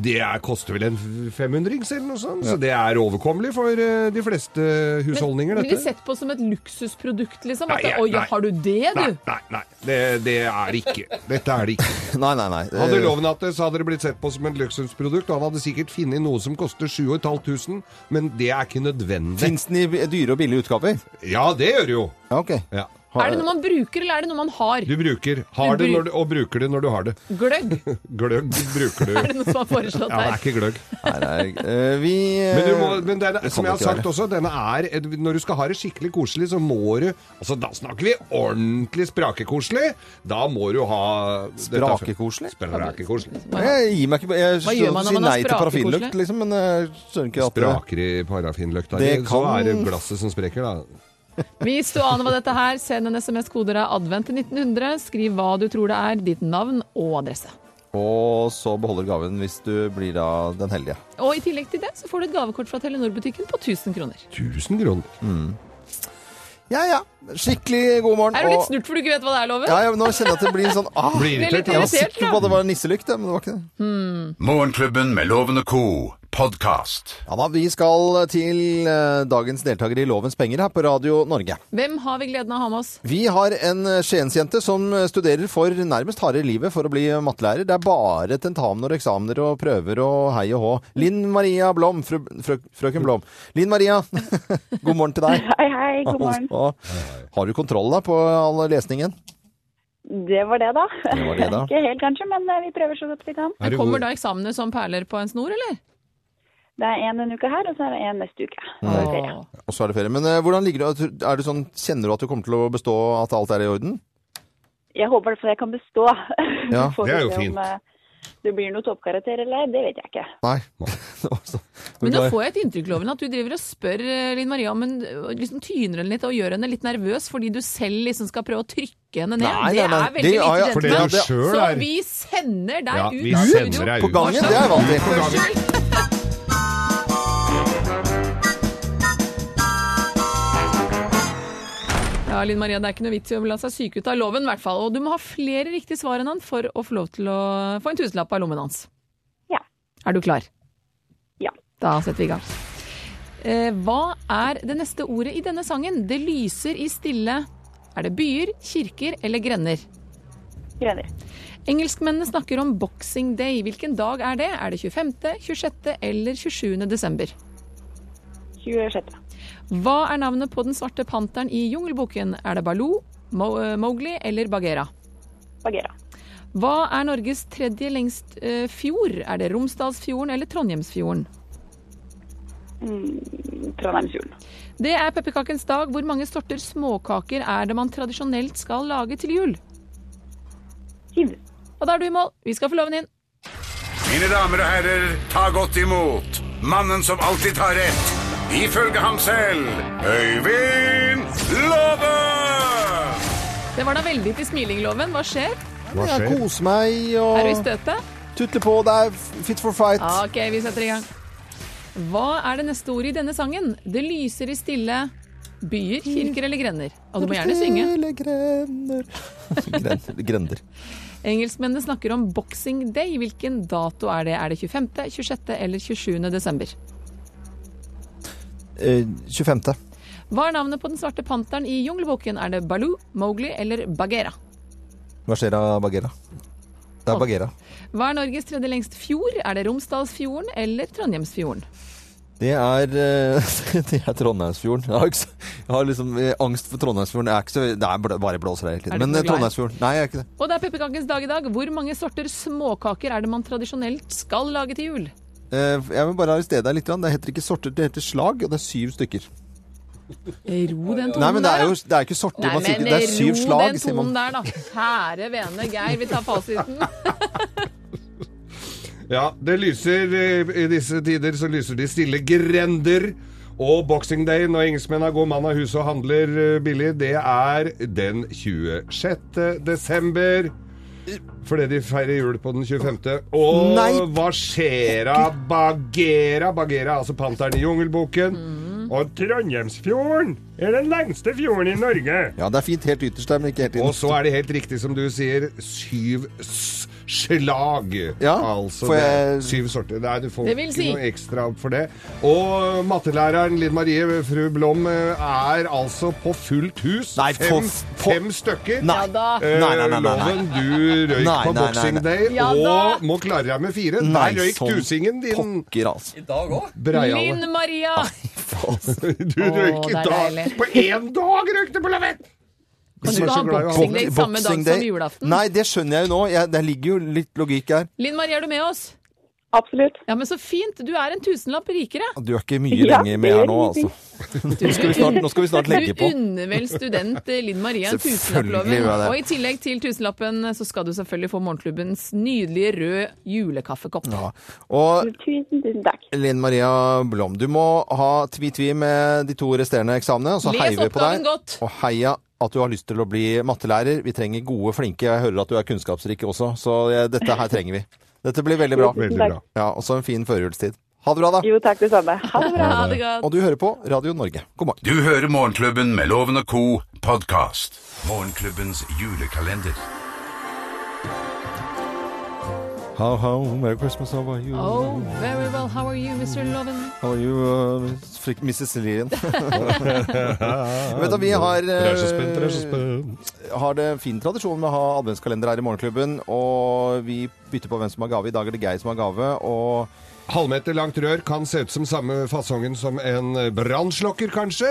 E: Det er, koster vel en 500-rings eller noe sånt, så det er overkommelig for eh, de fleste husholdninger,
D: Blir det
E: dette.
D: sett på som et luksusprodukt, liksom? At,
E: Nei,
D: det-
E: jeg-
D: Oi, ja,
E: nei.
D: har du det,
E: Nei,
D: du?
E: nei, nei. Det, det er det ikke. Dette er det ikke.
C: Nei, nei, nei.
E: Hadde
C: Eh,
E: loven hatt det, så hadde det blitt sett på som et luksusprodukt. og Han hadde sikkert funnet noe som koster 7500, men det er ikke nødvendig.
C: Fins den i b- dyre og billige utgaver?
E: Ja, det gjør det jo.
C: Ja, ok.
E: Ja.
C: Har-
D: Er det noe man bruker, eller er det noe man har?
E: Du bruker, har
D: Du
E: det
D: bru-
E: når du, og bruker det når du har det.
D: Gløgg?
E: Gløgg bruker du.
D: Er det noe som er foreslått
E: Ja, det er
D: her?
E: ikke gløgg.
C: Nei, nei, eh, vi eh,
E: Men, du må, men den,
C: det
E: som
C: kan
E: jeg har
C: ikke
E: sagt
C: være.
E: også, denne er, når du skal ha det skikkelig koselig, så må du Altså, da snakker vi ordentlig sprakekoselig. Da må du ha dette-
C: Sprakekoselig?
E: Sprakekoselig.
C: Jeg gir meg ikke Jeg
D: Hva gjør man når
C: sier
D: man er
C: nei til
D: sprakekoselig?
C: parafinlukt, liksom, men jeg skjønner ikke at det-
E: Spraker i parafinløkta.
C: Det
E: Så
C: kan-
E: er det glasset som sprekker, da.
D: Hvis du aner hva dette her, send en SMS-koder av advent til 1900. Skriv hva du tror det er, ditt navn og adresse.
C: Og så beholder gaven hvis du blir da den heldige.
D: Og i tillegg til det så får du et gavekort fra Telenor-butikken på 1000 kroner.
E: 1000 kroner.
C: Ja, ja. Skikkelig god morgen.
D: Er du litt
C: og-
D: snurt for du ikke vet hva det er, Loven?
C: Ja, ja, men nå kjenner jeg at det blir sånn ah,
E: Blir
D: Det er litt
C: Jeg
E: irritert.
C: var
D: irritert,
C: sikker på at det var nisselykt, ja, men det var ikke det.
B: Morgenklubben med Loven og Co. Podcast.
C: Ja da, Vi skal til eh, dagens deltaker i Lovens penger her på Radio Norge.
D: Hvem har vi gleden av å ha med oss?
C: Vi har en eh, skiensjente som studerer for nærmest harde livet for å bli eh, mattelærer. Det er bare tentamener og eksamener og prøver og hei og hå. Linn Maria Blom, fru, frø, frøken Blom. Linn Maria, god morgen til deg.
H: Hei, hei, god morgen.
C: Og- Har du kontroll da på all lesningen?
H: Det var det, da.
C: Det var det, da.
H: Ikke helt, kanskje, men eh, vi prøver så godt vi kan.
E: Er du
D: Kommer
E: god?
D: da eksamene som perler på en snor, eller?
H: Det er én denne uka her, og så er det én neste uke. Så er det ferie.
D: Åh.
C: Og så er det ferie. Men eh, hvordan ligger det? Er du sånn, Kjenner du at du kommer til å bestå, at alt er i orden?
H: Jeg håper i hvert fall jeg kan bestå.
C: Ja,
H: Får vi
E: det er jo
H: se om,
E: fint.
H: eh, Det blir noe toppkarakter eller ei, det vet jeg ikke.
C: Nei.
D: Men nå får jeg et inntrykk, Loven, at du driver og spør eh, Linn Maria om hun eh, liksom tyner henne litt og gjør henne litt nervøs fordi du selv liksom skal prøve å trykke henne ned.
C: Nei,
D: det
C: nei, nei.
D: er veldig
C: Det- ja, ja,
D: lite
C: for
E: det du
D: gentleman.
E: selv
D: Så
E: er-
D: vi sender deg
E: Ja,
D: ut
E: vi
D: av
E: sender
D: studio.
E: deg
C: På
E: ut.
C: gangen, det er jeg vant til.
E: På gangen.
D: Ja, Linn Maria, det er ikke noe vits i å la seg syke ut av loven, i hvert fall. Og du må ha flere riktige svar enn han for å få lov til å få en tusenlapp av lommen hans.
H: Ja.
D: Er du klar?
H: Ja.
D: Da setter vi i gang. Eh, hva er det neste ordet i denne sangen? Det lyser i stille. Er det byer, kirker eller grender?
H: Grønner.
D: Engelskmennene snakker om Boxing Day. Hvilken dag er det? Er det 25., 26. eller 27. desember?
H: 26.
D: Hva er navnet på den svarte panteren i Jungelboken? Er det Baloo, Mo eh, Mowgli eller Bagheera?
H: Bagheera.
D: Hva er Norges tredje lengst eh, fjord? Er det Romsdalsfjorden eller Trondheimsfjorden?
H: Trondheimsfjorden.
D: Det er pepperkakens dag. Hvor mange sorter småkaker er det man tradisjonelt skal lage til jul?
H: Hiv.
D: Og da er du i mål. Vi skal få loven inn.
B: Mine damer og herrer, ta godt imot mannen som alltid tar rett. Ifølge ham selv Øyvind Låve!
D: Det var da veldig til smilingloven. Hva skjer?
E: Hva
C: Jeg
E: skjer?
C: koser meg
D: Er du i
C: og
D: støtet?
C: tutler på. Det er fit for fight.
D: Ja, OK, vi setter i gang. Hva er det neste ordet i denne sangen? Det lyser i stille byer, kirker eller grender. Og du må gjerne synge.
C: Stille grender Gren- Grender.
D: Engelskmennene snakker om Boxing Day. Hvilken dato er det? Er det 25., 26. eller 27. desember?
C: Eh, 25.
D: Hva er navnet på den svarte panteren i Jungelboken? Er det Baloo, Mowgli eller Bagheera?
C: Hva skjer da, Bagheera? Det er Bagheera.
D: Hva er Norges tredje lengst fjord? Er det Romsdalsfjorden eller Trondheimsfjorden?
C: Det er, eh, det er Trondheimsfjorden. Jeg har, ikke, så- jeg har liksom eh, angst for Trondheimsfjorden. Jeg er ikke så, det er bl- bare blåser her hele
D: Er
C: tiden.
D: du
C: Men eh,
D: ikke glad i-
C: Trondheimsfjorden Nei, jeg er ikke det.
D: Og det er pepperkakens dag i dag. Hvor mange sorter småkaker er det man tradisjonelt skal lage til jul?
C: Eh, Jeg vil bare arrestere deg litt. grann. Det heter ikke sorter, det heter slag, og det er syv stykker.
D: Ro den
C: Nei, men
D: tonen
C: det er
D: der,
C: jo
D: da.
C: det er ikke sorter.
D: Nei,
C: man sitter,
D: men
C: det er syv
D: ro
C: slag,
D: den
C: sier man.
D: tonen der, da. Kjære vene Geir, vi tar fasiten.
E: Ja, det lyser eh, i disse tider så lyser de stille grender. Og Boxing Day, når engelskmennene går mann av huset og handler eh, billig, det er den 26. desember. Fordi de feirer jul på den 25. Og
C: Nei.
E: hva skjer av Bagheera? Bagheera er altså panteren i Jungelboken. Og Trondheimsfjorden er den lengste fjorden i Norge.
C: Ja, det er fint helt ytterst der, men ikke helt
E: Og
C: innerst.
E: så er det helt riktig som du sier, syv s slag.
C: Ja,
E: altså
C: får
E: det er
C: jeg-
E: syv sorter. Nei, du får
D: Det vil
E: ikke
D: si-
E: noe ekstra for det. Og mattelæreren Linn Marie, fru Blom, er altså på fullt hus.
C: Nei,
E: fem,
C: på- på-
E: fem stykker.
C: Nei.
D: Ja da.
E: Eh,
C: Nei, nei, nei, nei, nei.
E: Loven, du røyk
C: Nei, nei,
E: på
C: nei,
E: Boxing
C: nei.
E: Day
D: Ja da.
E: og må klare deg med fire.
C: Nei, sånn
E: Der røyk
C: som
E: tusingen din
C: Pokker, altså.
I: I dag òg?
E: breiale.
D: Linn Maria!
E: Du
D: Å,
E: røyk i
D: det er
E: dag.
D: deilig.
E: På én dag røyk du på lavett!
D: Kan
E: Så
D: du ikke ha
E: glad i å ha
D: boxing day
C: Boxing
D: samme dag
C: Day-
D: som julaften?
C: Nei, det skjønner jeg jo nå. Jeg, det ligger jo litt logikk her.
D: Linn Marie, er du med oss?
H: Absolutt.
D: Ja, men så fint! Du er en tusenlapp rikere.
C: Du er ikke mye
H: Ja,
C: lenger med her nå,
H: det
C: altså. Nå skal vi snart, nå skal vi snart legge
D: Du
C: på.
D: unner vel student eh, Linn Marie en
C: Selvfølgelig
D: tusenlapploven.
C: gjør jeg det.
D: Og i tillegg til tusenlappen eh, så skal du selvfølgelig få morgenklubbens nydelige rød julekaffekopp.
C: Ja. Og
H: Tusen, tusen takk.
C: Linn Maria Blom, du må ha tvi-tvi med de to resterende eksamene, og så
D: Les
C: heier vi på
D: oppgaven
C: deg.
D: godt!
C: Og heia at du har lyst til å bli mattelærer. Vi trenger gode, flinke. Jeg hører at du er kunnskapsrik også, så eh, dette her trenger vi. Dette blir veldig bra.
E: Veldig bra.
C: Ja, og så en fin førjulstid. Ha det bra, da.
H: Jo, takk det samme. Ha det bra.
D: Ha det godt!
C: Og du hører på Radio Norge. God morgen.
B: Du hører Morgenklubben med Loven og Co. podkast. Morgenklubbens julekalender.
C: How, how, Merry Christmas, how are you?
D: Oh, very well. How are you, Mr. Loven?
C: How are you, uh, frik- Mrs. Lillian? Vet du, vi har, eh,
E: Presjespent, presjespent.
C: har det fin tradisjon med å ha adventskalender her i Morgenklubben, og vi bytter på hvem som har gave. I dag er det Geir som har gave, og
E: Halvmeter langt rør kan se ut som samme fasongen som en brannslokker, kanskje.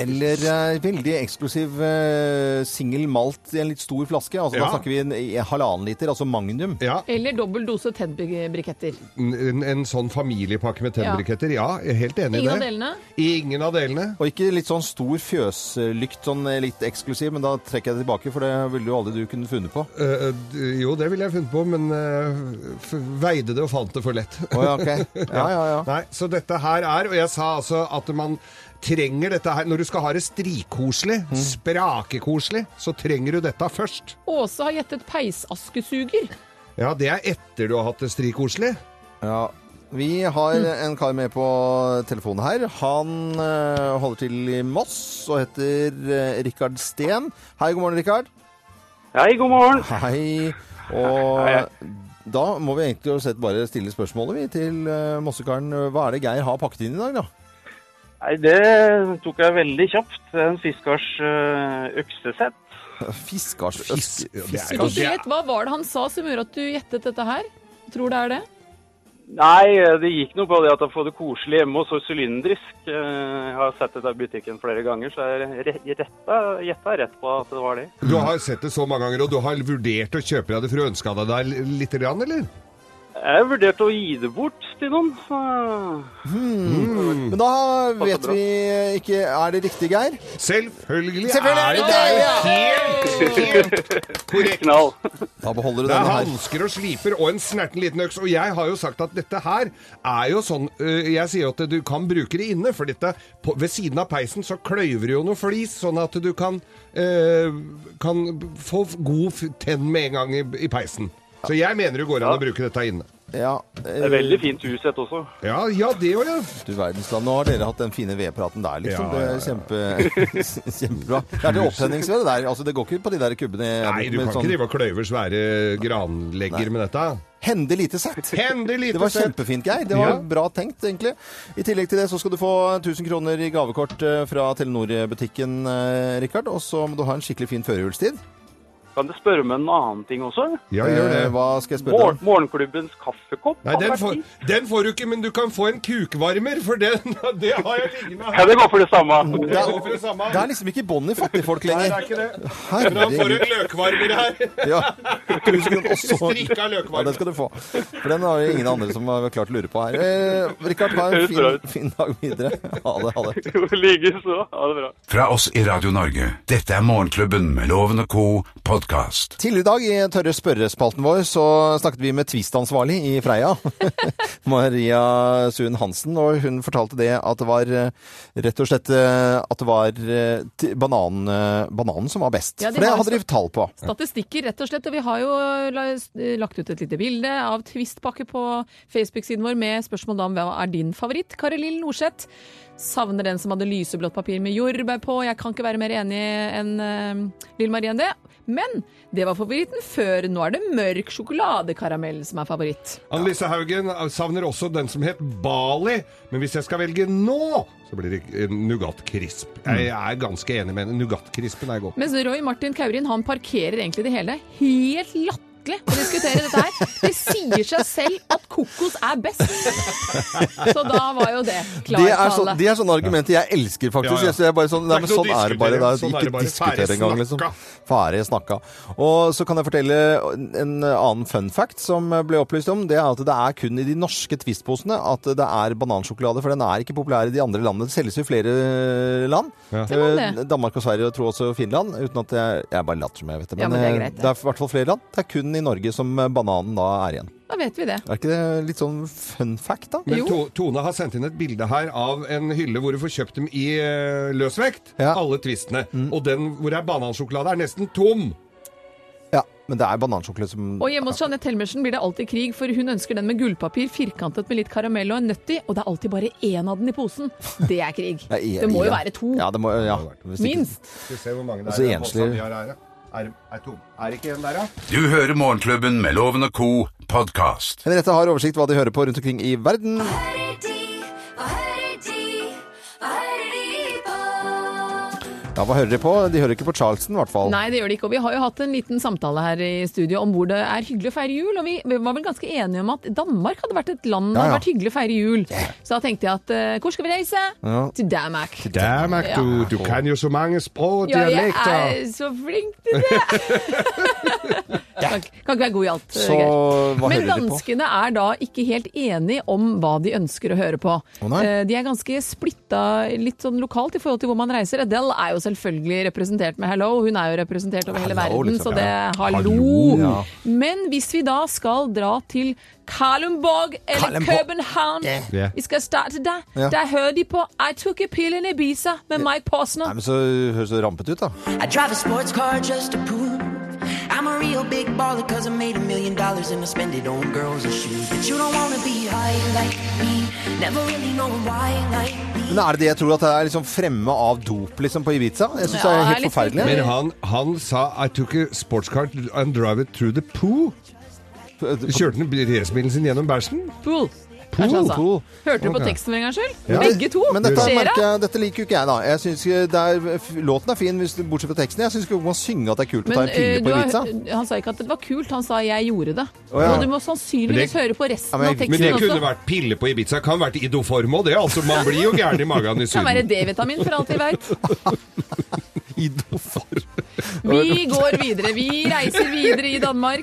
C: Eller eh, veldig eksklusiv eh, singel malt i en litt stor flaske. Altså, Da
E: Ja.
C: snakker vi en, i halvannen liter, altså magnum.
E: Ja,
D: Eller dobbel dose Ted-briketter.
E: En, en sånn familiepakke med tennbriketter. Ja, jeg er helt enig i
D: Ingen
E: det.
D: av delene.
E: Ingen av delene.
C: Og ikke litt sånn stor fjøslykt, sånn eh, litt eksklusiv, men da trekker jeg det tilbake, for det ville jo aldri du kunne funnet på.
E: Eh, eh, d- jo, det ville jeg funnet på, men eh, f veide det og fant det for lett.
C: Å ja, ok. Ja, ja, ja.
E: Nei, så dette her er, og jeg sa altså at man trenger dette her, når du skal ha det strikoselig,
D: Mm.
E: sprakekoselig, så trenger du dette først.
D: Åse har gjettet peisaskesuger.
E: Ja, det er etter du har hatt det strikoselig.
C: Ja. Vi har en kar med på telefonen her. Han eh, holder til i Moss og heter eh, Rikard Steen. Hei, god morgen, Rikard.
J: Hei, god morgen.
C: Hei. Og da må vi egentlig jo sett bare stille spørsmålet vi til eh, Mossekaren. Hva er det Geir har pakket inn i dag, da?
J: Nei, det tok jeg veldig kjapt. Det er En fiskars øh, øksesett.
C: Fiskars
E: Fisk- ja, det er
D: Ikke
E: jo-
D: så lett. Hva var det han sa som gjorde at du gjettet dette her? Tror det er det?
J: Nei, eh, det gikk noe på det at jeg får det koselig hjemme og så sylindrisk. Eh, Jeg har sett det i butikken flere ganger, så jeg re- retta, gjetta rett på at det var det.
E: Du har sett det så mange ganger, og du har vurdert å kjøpe deg det for å ønske deg det litt, grann, eller?
J: Jeg vurderte å gi det bort til noen. Så... eh,
C: Men da vet vi ikke Er det riktig, Geir?
E: Selvfølgelig,
C: Selvfølgelig er det deg, ja!
E: helt, helt korrekt.
J: Knall.
C: Da beholder du
E: Det er
C: denne her.
E: hansker og sliper og en snerten liten øks. Og jeg har jo sagt at dette her er jo sånn øh, Jeg sier jo at du kan bruke det inne, for dette på, ved siden av peisen så kløyver det jo noe flis, sånn at du kan, øh, kan få f- god f- tenn med en gang i, i peisen. Så jeg mener det går an å bruke dette inne.
C: Ja,
J: Det er
C: eh,
J: veldig fint huset også.
E: Ja, ja, det òg, ja.
C: du verdensland. Nå har dere hatt den fine vedpraten der, liksom.
E: Ja, ja, ja.
C: Det er kjempe, kjempebra. Det er det opptenningsved, det der. Altså, det går ikke på de der kubbene. jeg
E: Nei,
C: bruker,
E: du
C: men sånn
E: kan ikke drive og kløyve svære granlegger med dette.
C: Hende lite sett.
E: Hendig
C: Det
E: lite
C: var
E: sett.
C: kjempefint, Geir. Det var
E: Ja.
C: bra tenkt, egentlig. I tillegg til det så skal du få 1000 kroner i gavekort eh, fra Telenor-butikken, eh, Rikard. Og så må du ha en skikkelig fin førjulstid.
J: Kan du spørre meg om en annen ting også?
E: Ja, gjør det.
C: Eh, Hva skal jeg spørre deg
J: Morgen,
C: om?
J: morgenklubbens kaffekopp?
E: Nei, den får, den får du ikke, men du kan få en kukvarmer, for den, det har jeg liggende her.
J: Kan det gå for det samme?
E: Det går for det samme.
C: Det er liksom ikke bånd i fattigfolk
E: Nei, det
C: lenger.
E: er ikke det. Da får
C: Herregud.
E: du en løkvarmer her.
C: Ja. 000 kroner. Og så-
E: Strikka løkvarme.
C: Ja, den skal du få. For den har jo ingen andre som har klart å lure på her. Eh, Rikard, ha en
J: Høres bra
C: fin,
J: ut.
C: fin dag videre. Ha det. Ha det.
J: Jo, likeså. Ha det bra.
B: Fra oss i Radio Norge, dette er Morgenklubben med Loven og Co. podkast.
C: Tidligere i dag i tørre spørrespalten vår så snakket vi med Twist-ansvarlig i Freia. Maria Suen Hansen, og hun fortalte det at det var eh, rett og slett eh, at det var eh, t- bananen, eh, bananen som var best.
D: Ja, de
C: For det
D: har jo
C: hadde de tall på.
D: Statistikker, rett og slett. Og vi har jo la- lagt ut et lite bilde av Twist-pakke på Facebook-siden vår med spørsmål da om hva er din favoritt. Kari Lill Norseth. Savner den som hadde lyseblått papir med jordbær på. Jeg kan ikke være mer enig enn uh, Lill Marie enn det. Men det var favoritten før. Nå er det mørk sjokoladekaramell som er favoritt.
E: Annelise Haugen eh, savner også den som het Bali, men hvis jeg skal velge nå, så blir det eh, Nougat Crisp. Jeg er ganske enig med henne. Nougat Crispen er god.
D: Mens Roy Martin Kaurin han parkerer egentlig det hele helt latterlig å diskutere dette her. Det sier seg selv at kokos er best. Så da var jo det klar
C: Det er, så,
D: tale.
C: det er sånne argumenter jeg elsker, faktisk.
E: Ja, ja.
C: Jeg- så jeg bare sånn, nei, men
E: Det er ikke
C: sånn
E: noe å
C: er det bare. Det er,
E: diskutere. Sånn er det
C: ikke
E: bare.
C: diskutere
E: Ferdig
C: engang, liksom.
E: snakka.
C: Ferdig snakka. Og så kan jeg fortelle en annen fun fact som ble opplyst om. Det er at det er kun i de norske Twist-posene at det er banansjokolade. For den er ikke populær i de andre landene. Det selges i flere land.
E: Ja.
D: Det var det.
C: Eh, Danmark og Sverige og tror jeg også Finland. Uten at jeg, jeg bare later som jeg vet det.
D: Ja,
C: Men,
D: men det er
C: eh,
D: greit, det.
C: det er i hvert fall flere land. Det er kun i Norge som bananen da er igjen.
D: Da vet vi det.
C: Er ikke det litt sånn fun fact, da?
E: Men
D: Jo.
E: to, Tone har sendt inn et bilde her av en hylle hvor du får kjøpt dem i eh, løsvekt.
C: Ja.
E: Alle twistene. Og den hvor det er banansjokolade, er nesten tom.
C: Ja, men det er banansjokolade som
D: Og hjemme hos Jeanette Helmersen blir det alltid krig, for hun ønsker den med gullpapir, firkantet med litt karamell og en nøtt i, og det er alltid bare én av den i posen. Det er krig.
C: Ja, i-
D: Det må
C: i-
D: jo være to.
C: Ja, det må, ja. Hvis ikke-
D: Minst.
E: Skal vi se hvor mange det
C: Altså,
E: er. i den
C: enslig-
E: posten vi har her, ja. Er, er tom. Er det ikke en der, da?
B: Du hører Morgenklubben med Loven og Co. podkast.
C: Henriette har oversikt hva de hører på rundt omkring i verden.
A: Hører de, hva hører de, hva hører de på?
C: Ja, Hva hører de på? De hører ikke på Charleston, i hvert fall.
D: Nei, det gjør det ikke. Og vi har jo hatt en liten samtale her i studio om hvor det er hyggelig å feire jul. Og vi vi var vel ganske enige om at Danmark hadde vært et land det
C: Ja,
D: hadde
C: ja.
D: vært hyggelig å feire jul. Så da tenkte jeg at eh, hvor skal vi reise? Til Danmark.
E: Danmark, du, du kan jo så mange språk og
D: Ja, jeg
E: dialekter.
D: er så flink til det! kan, kan ikke være god i alt.
C: Så
D: Geir.
C: hva
D: Men
C: hører de på?
D: danskene er da ikke helt enige om hva de ønsker å høre på.
C: Å, nei.
D: Eh, de er ganske splitta litt sånn lokalt i forhold til hvor man reiser. Adele er jo selvfølgelig representert med 'Hello', hun er jo representert over hele
C: Hello,
D: verden,
C: liksom,
D: så det
C: ja.
D: hallo.
C: Hallo, ja.
D: Men hvis vi da skal dra til Kalundborg eller
C: Kalundborg.
D: København
E: Ja.
D: Vi skal starte der.
C: Ja.
D: Der hører de på 'I Took a Pill in Ibiza' med Mike Posner.
C: Nei, men så høres det rampete ut, da.
I: I drive a sports car just to prove I'm a real big baller cause I made a million dollars and I spend it on girls and shoes. But you don't wanna be high like me, never really knowing why like me.
C: Men er det det jeg tror at det er liksom fremme av dop liksom på Ibiza? Jeg syns
D: Ja,
C: det
D: det
C: er
D: er
C: helt
D: litt
C: forferdelig.
E: Men han, han sa I took a sports car and drive it through the poo. Kjørte han racerbilen sin gjennom bæsjen?
D: Pool. Kanskje han sa. Hørte du på teksten for en gangs skyld?
C: Ja.
D: Begge to.
C: Men dette,
D: Skjer'a?
C: merker jeg, dette liker jo ikke jeg, da. Jeg synes ikke det er, f- låten er fin, hvis du, bortsett fra teksten. Jeg syns ikke man må synge at det er kult å ta
D: Men
C: en pille
D: eh, du
C: på
D: har,
C: Ibiza.
D: han sa ikke at det var kult, han sa 'jeg gjorde det'.
C: ja.
D: Så du må sannsynligvis
E: Men
D: høre på resten
C: Ja, men-
D: av
E: Men
D: teksten
E: det kunne
D: også.
E: vært pille på Ibiza. Kan vært idoform òg, det. Altså, man blir jo gæren i magen i
D: Det kan være
E: Syden.
D: D-vitamin, for alt vi veit.
C: Idoform.
D: Vi går videre. Vi reiser videre i Danmark.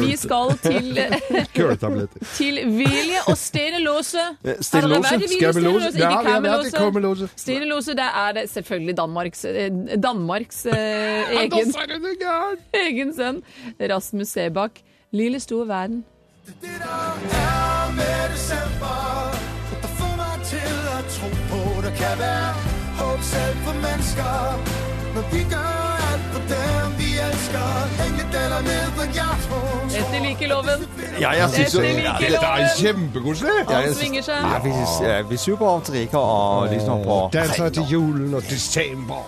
D: Vi skal til,
E: Køletabletter.
D: til Vilje og Altså, Stenelåse.
C: Eh, Stenlose?
E: Skabbelose?
D: Skabbelose?
E: Ja, vi har
D: Ikke
E: vært
D: Kammelose.
E: i Kammelose.
D: Stenelåse, det er det selvfølgelig Danmarks, eh, Danmarks eh,
E: Ja, da
D: egen
E: er hun gæren!
D: egen sønn, Rasmus Sebakk. Lille store verden. Etter likeloven.
C: Ja, jeg syns jo
D: Etter
C: ja, det-
E: Dette er
D: likeloven.
E: kjempekoselig!
D: Han svinger seg.
C: Jeg vil- Jeg vil jo på antrekk og liksom på
E: Danser til julen og desember.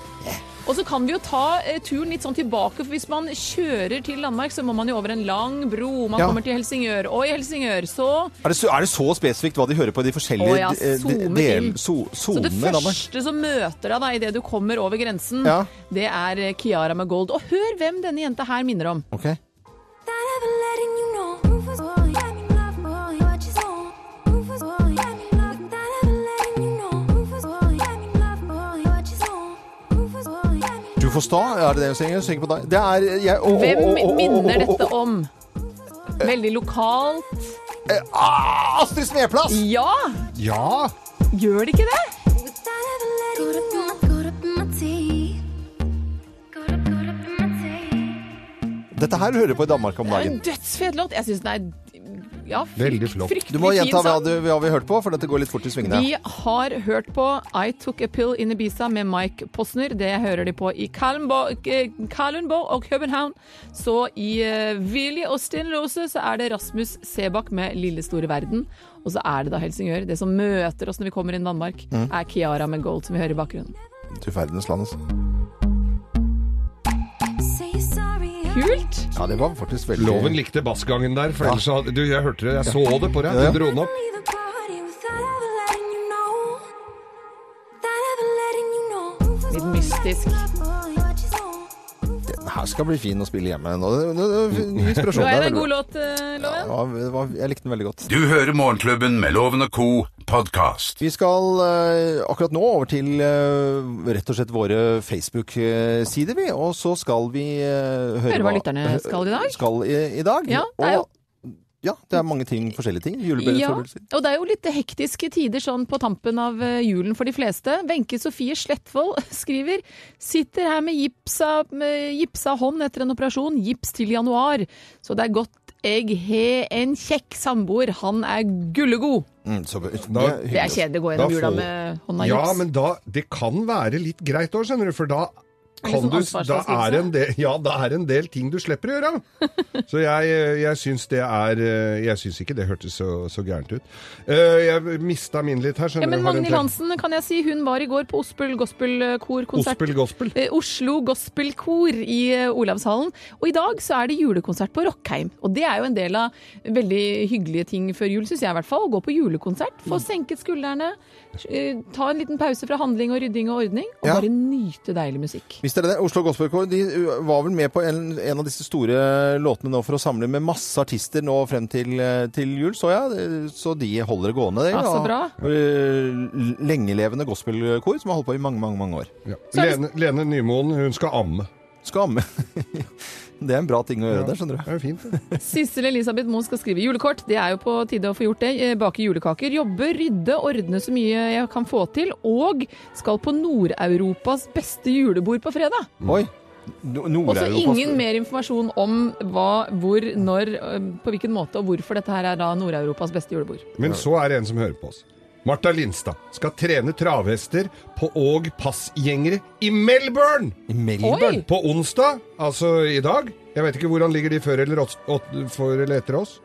D: Og så kan vi jo ta eh, turen litt sånn tilbake, for hvis man kjører til Danmark, så må man jo over en lang bro. Man
C: Ja.
D: kommer til Helsingør, og i Helsingør så
C: Er det, så, er det så spesifikt hva de hører på i de forskjellige
D: Å ja,
C: eh, de-
D: zoomet
C: del-
D: inn.
C: so-
D: Så det
C: sonene? Danmark?
D: første som møter deg da idet du kommer over grensen,
C: Ja.
D: det er eh, Kiara med Gold. Og hør hvem denne jenta her minner om.
C: Ok.
A: That I've been letting you know. Proof is all, yeah, I'm in love, boy, what you want. Proof is all, yeah, I'm in love. That I've been letting you know. Proof is all, yeah, I'm in love, boy, what you want. Proof is all, yeah, I'm in love.
C: Du for sta? Er det det hun synger? Hun synger på deg? Det er jeg, å, å,
D: Hvem
C: å, å, å,
D: minner
C: å, å,
D: dette
C: å.
D: om? Veldig lokalt.
C: Ah, Astrid Smeplass!
D: Ja!
E: Ja!
D: Gjør det ikke det?
A: Caught up in my, caught up in my tea. Caught up, caught up in my tea.
C: Dette her hører du på i Danmark om
D: Det er
C: dagen.
D: en dødsfet låt. Jeg syns den er ja,
E: Veldig flott.
C: Du må
D: Fryktelig fin
C: gjenta hva,
D: sang.
C: du, hva vi hørte på, for dette går litt fort i svingene.
D: Vi har hørt på I Took a Pill in Ibiza med Mike Posner. Det hører de på i Kalundborg eh, Kalundborg og København. Så i eh, Willy og Stenlose så er det Rasmus Sebakk med Lille store verden. Og så er det da Helsingør. Det som møter oss når vi kommer inn i Danmark,
C: Mm.
D: er Kiara med Gold, som vi hører i bakgrunnen.
C: Du verdens land, altså.
A: Say you're sorry.
D: Kult!
C: Ja, det var faktisk veldig
E: Loven likte bassgangen der, for ellers hadde du, jeg hørte det, jeg så det på deg.
C: Ja.
E: Du dro den opp.
A: Leave the party without ever letting you know. Without ever letting you know.
D: Litt mystisk.
C: Den her skal bli fin å spille hjemme. Nå, nå, nå, ny
D: Nå
C: inspirasjon
D: er det
C: der.
D: en god
C: veldig bra.
D: låt, eh, Loven.
C: Ja, det var- jeg likte den veldig godt.
B: Du hører Morgenklubben med Loven og co. podkast.
C: Vi skal eh, akkurat nå over til eh, rett og slett våre Facebook-sider, vi. Og så skal vi eh, høre
D: Høre hva lytterne skal i dag.
C: Skal i, i dag.
D: Ja, det er jo-
C: og, ja, det er mange ting, forskjellige ting.
D: Ja,
C: Juleforberedelser.
D: og det er jo litt hektiske tider sånn på tampen av eh, julen for de fleste. Wenche Sofie Slettvold skriver sitter her med gipsa, med gipsa hånd etter en operasjon, gips til januar. Så det er godt jeg har en kjekk samboer, han er gullegod.
C: Mm, så, det,
E: Da-
D: Det er kjedelig å gå
E: Da
D: gjennom
E: får-
D: jula med hånda i
E: Ja,
D: gips.
E: men da, det kan være litt greit òg, skjønner du, for da
D: litt
E: kan
D: sånn
E: du, da
D: ansvarsfraskrivelse.
E: er en del, ja, da er en del ting du slipper å gjøre. Så jeg, jeg syns det er eh, Jeg syns ikke det hørtes så, så gærent ut. Eh, Jeg mista min litt her,
D: Ja,
E: skjønner
D: men
E: du. har en
D: Magnhild
E: tre-
D: Hansen, kan jeg si, hun var i går på Ospel Gospelkor-konsert.
E: Ospel gospel.
D: Eh, Oslo Gospelkor i eh, Olavshallen. Og i dag så er det julekonsert på Rockheim. Og det er jo en del av veldig hyggelige ting før jul, syns jeg i hvert fall. Å gå på julekonsert, få senket skuldrene, eh, ta en liten pause fra handling og rydding og ordning, og
C: Ja.
D: bare nyte deilig musikk.
C: Visste dere det? Oslo Gospelkår de uh, var vel med på en, en av disse store eh, låtene nå for å samle med masse artister nå frem til, uh, til jul, så jeg. Uh, Så de holder det gående. det,
D: Ja, så
C: da.
D: bra.
C: Uh, Lengelevende gospelkor som har holdt på i mange, mange, mange år.
E: Ja. Lene, Lene Nymoen, hun skal amme.
C: Skam. det er en bra ting å gjøre der, skjønner du.
E: Det er jo fint, det.
D: Sissel Elisabeth Moe skal skrive julekort. Det er jo på tide å få gjort det. Eh, Bake julekaker, jobbe, rydde, ordne så mye jeg kan få til. Og skal på Nord-Europas beste julebord på fredag.
C: Oi.
D: Og
C: No-
D: så
C: Nord-Europas-
D: ingen mer informasjon om hva, hvor, når, eh, på hvilken måte og hvorfor dette her er da Nord-Europas beste julebord.
E: Men så er det en som hører på oss. Marta Lindstad skal trene travhester på og passgjengere i Melbourne!
C: I Melbourne.
D: Oi!
E: På onsdag, altså i dag Jeg vet ikke hvordan ligger de før eller, åt, åt, for eller etter oss.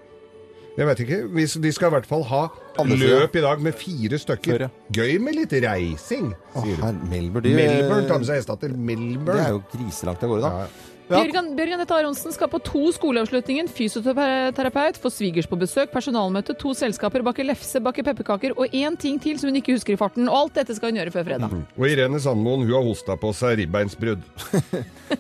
E: Jeg vet ikke. Hvis de skal i hvert fall ha
C: Andre siden.
E: løp i dag med fire stykker.
C: Før, ja.
E: Gøy med litt reising,
C: Å,
E: sier
C: her,
E: hun.
C: Melbourne. de-
E: Melbourne, ta med seg hesta til
C: Det
E: Melbourne.
C: er jo griselangt av gårde, da.
E: Ja.
C: Ja.
D: Bjørgan, Bjørgan Dette Aronsen skal på to skoleavslutningen, fysioterapeut, få svigers på besøk, personalmøte, to selskaper, bake lefse, bake pepperkaker og én ting til som hun ikke husker i farten. Og alt dette skal hun gjøre før fredag.
E: Og Irene Sandmoen hun har hosta på seg ribbeinsbrudd.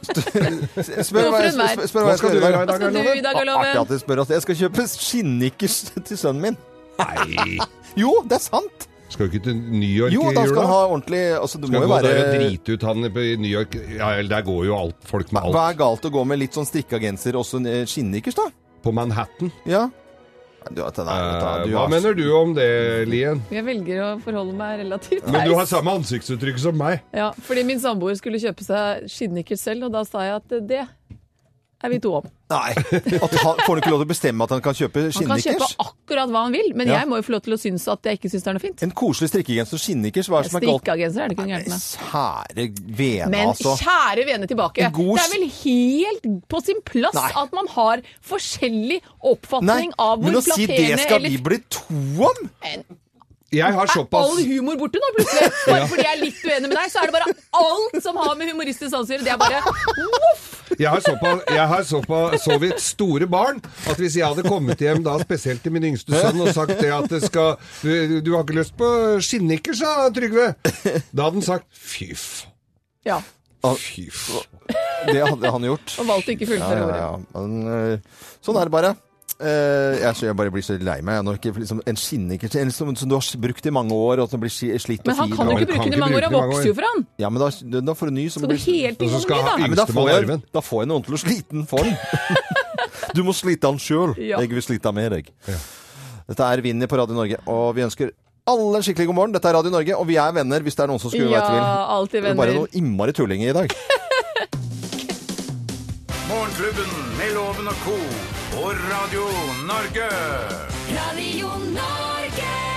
C: Spør hva, jeg-
D: Hvorfor enhver?
C: spør, spør hva jeg
E: Hva skal
C: skal
E: du
C: gjøre i
E: gjøre
C: dag.
D: Hva skal du i dag,
C: Artig at
D: Loven?
C: du spør. Altså. Jeg skal kjøpe skinnnikkers til sønnen min.
E: Nei!
C: Jo, det er sant!
E: Skal du ikke til New York
C: Jo,
E: i
C: da skal
E: jula?
C: han ha ordentlig altså, du
E: Skal
C: må
E: du
C: jo
E: gå
C: være,
E: der og drite ut han i New York? Ja, eller der går jo alt, folk med
C: Hva
E: alt.
C: er galt å gå med litt sånn strikka genser og så en, eh, skinnnikkers, da?
E: På Manhattan.
C: Ja. Nei, Du, vet det, nei, vet
E: Eh,
C: du,
E: Hva
C: du,
E: mener du om det, Lien?
D: Jeg velger å forholde meg relativt
E: Men du har
D: taus.
E: samme ansiktsuttrykk som meg.
D: Ja, fordi min samboer skulle kjøpe seg skinnnikkers selv, og da sa jeg at det er vi to om.
C: Nei. At han, får du ikke lov til å bestemme at han kan kjøpe
D: Han kan kjøpe
C: skinnnikkers?
D: akkurat hva han vil, men
C: Ja.
D: jeg må jo få lov til å synes at jeg ikke syns det er noe fint.
C: En koselig strikkegenser og skinnnikkers, hva er det som er galt?
D: Strikka genser er det ikke noe gærent med.
C: Sære vene,
D: Men
C: altså.
D: kjære vene tilbake,
C: En god
D: det er vel helt på sin plass
C: Nei.
D: at man har forskjellig
C: Nei,
D: oppfatning av
C: men
D: hvor
C: å si det
D: flatterende
C: skal
D: eller
C: vi bli to om?
E: Jeg har
D: Er all
E: såpass
D: humor borte nå, plutselig? Bare fordi jeg er litt uenig med deg, så er det bare alt som har med humoristisk sans å gjøre. Det er bare voff!
E: Jeg har såpass, jeg har såpass så vidt store barn at hvis jeg hadde kommet hjem da spesielt til min yngste sønn og sagt det at det skal Du, du har ikke lyst på skinnnikker, sa Trygve. Da hadde han sagt fy f...
D: Ja,
E: Fy f...
C: Det hadde han gjort.
D: og valgte å ikke
C: Ja,
D: fullføre
C: ja,
D: ordet.
C: ja. Men, eh, sånn er det bare. Eh, jeg, så jeg bare blir så lei meg jeg, når ikke, liksom, en skinnekikkert en som, som du har brukt i mange år, og som blir ski- slitt
D: Men
C: og
D: han
C: fin.
D: kan jo
C: og-
E: han
D: ikke
E: kan
D: bruke den
E: ikke
D: i mange år. Han
E: bruke den i mange
D: vokser jo
E: år.
D: for han.
C: Ja, men da, da får du ny
D: Så
C: som
D: det
C: blir
D: er helt
E: Og så skal
D: uvanlig,
E: han-
D: da.
C: Nei, men da
E: Yngstemann
C: får,
E: i
C: jeg,
E: arven.
C: da får jeg noen til å slite den for den. Du må slite den sjøl.
D: Ja.
C: Jeg vil slite den med deg. Dette er Vinni på Radio Norge, og vi ønsker alle en skikkelig god morgen. Dette er Radio Norge, og vi er venner hvis det er noen som skulle
D: Ja,
C: være i tvil.
D: alltid
C: Det er bare
D: venner.
C: noe innmari tullinger i dag.
B: Morgenklubben med Loven og co. og Radio Norge.
A: Radio Norge.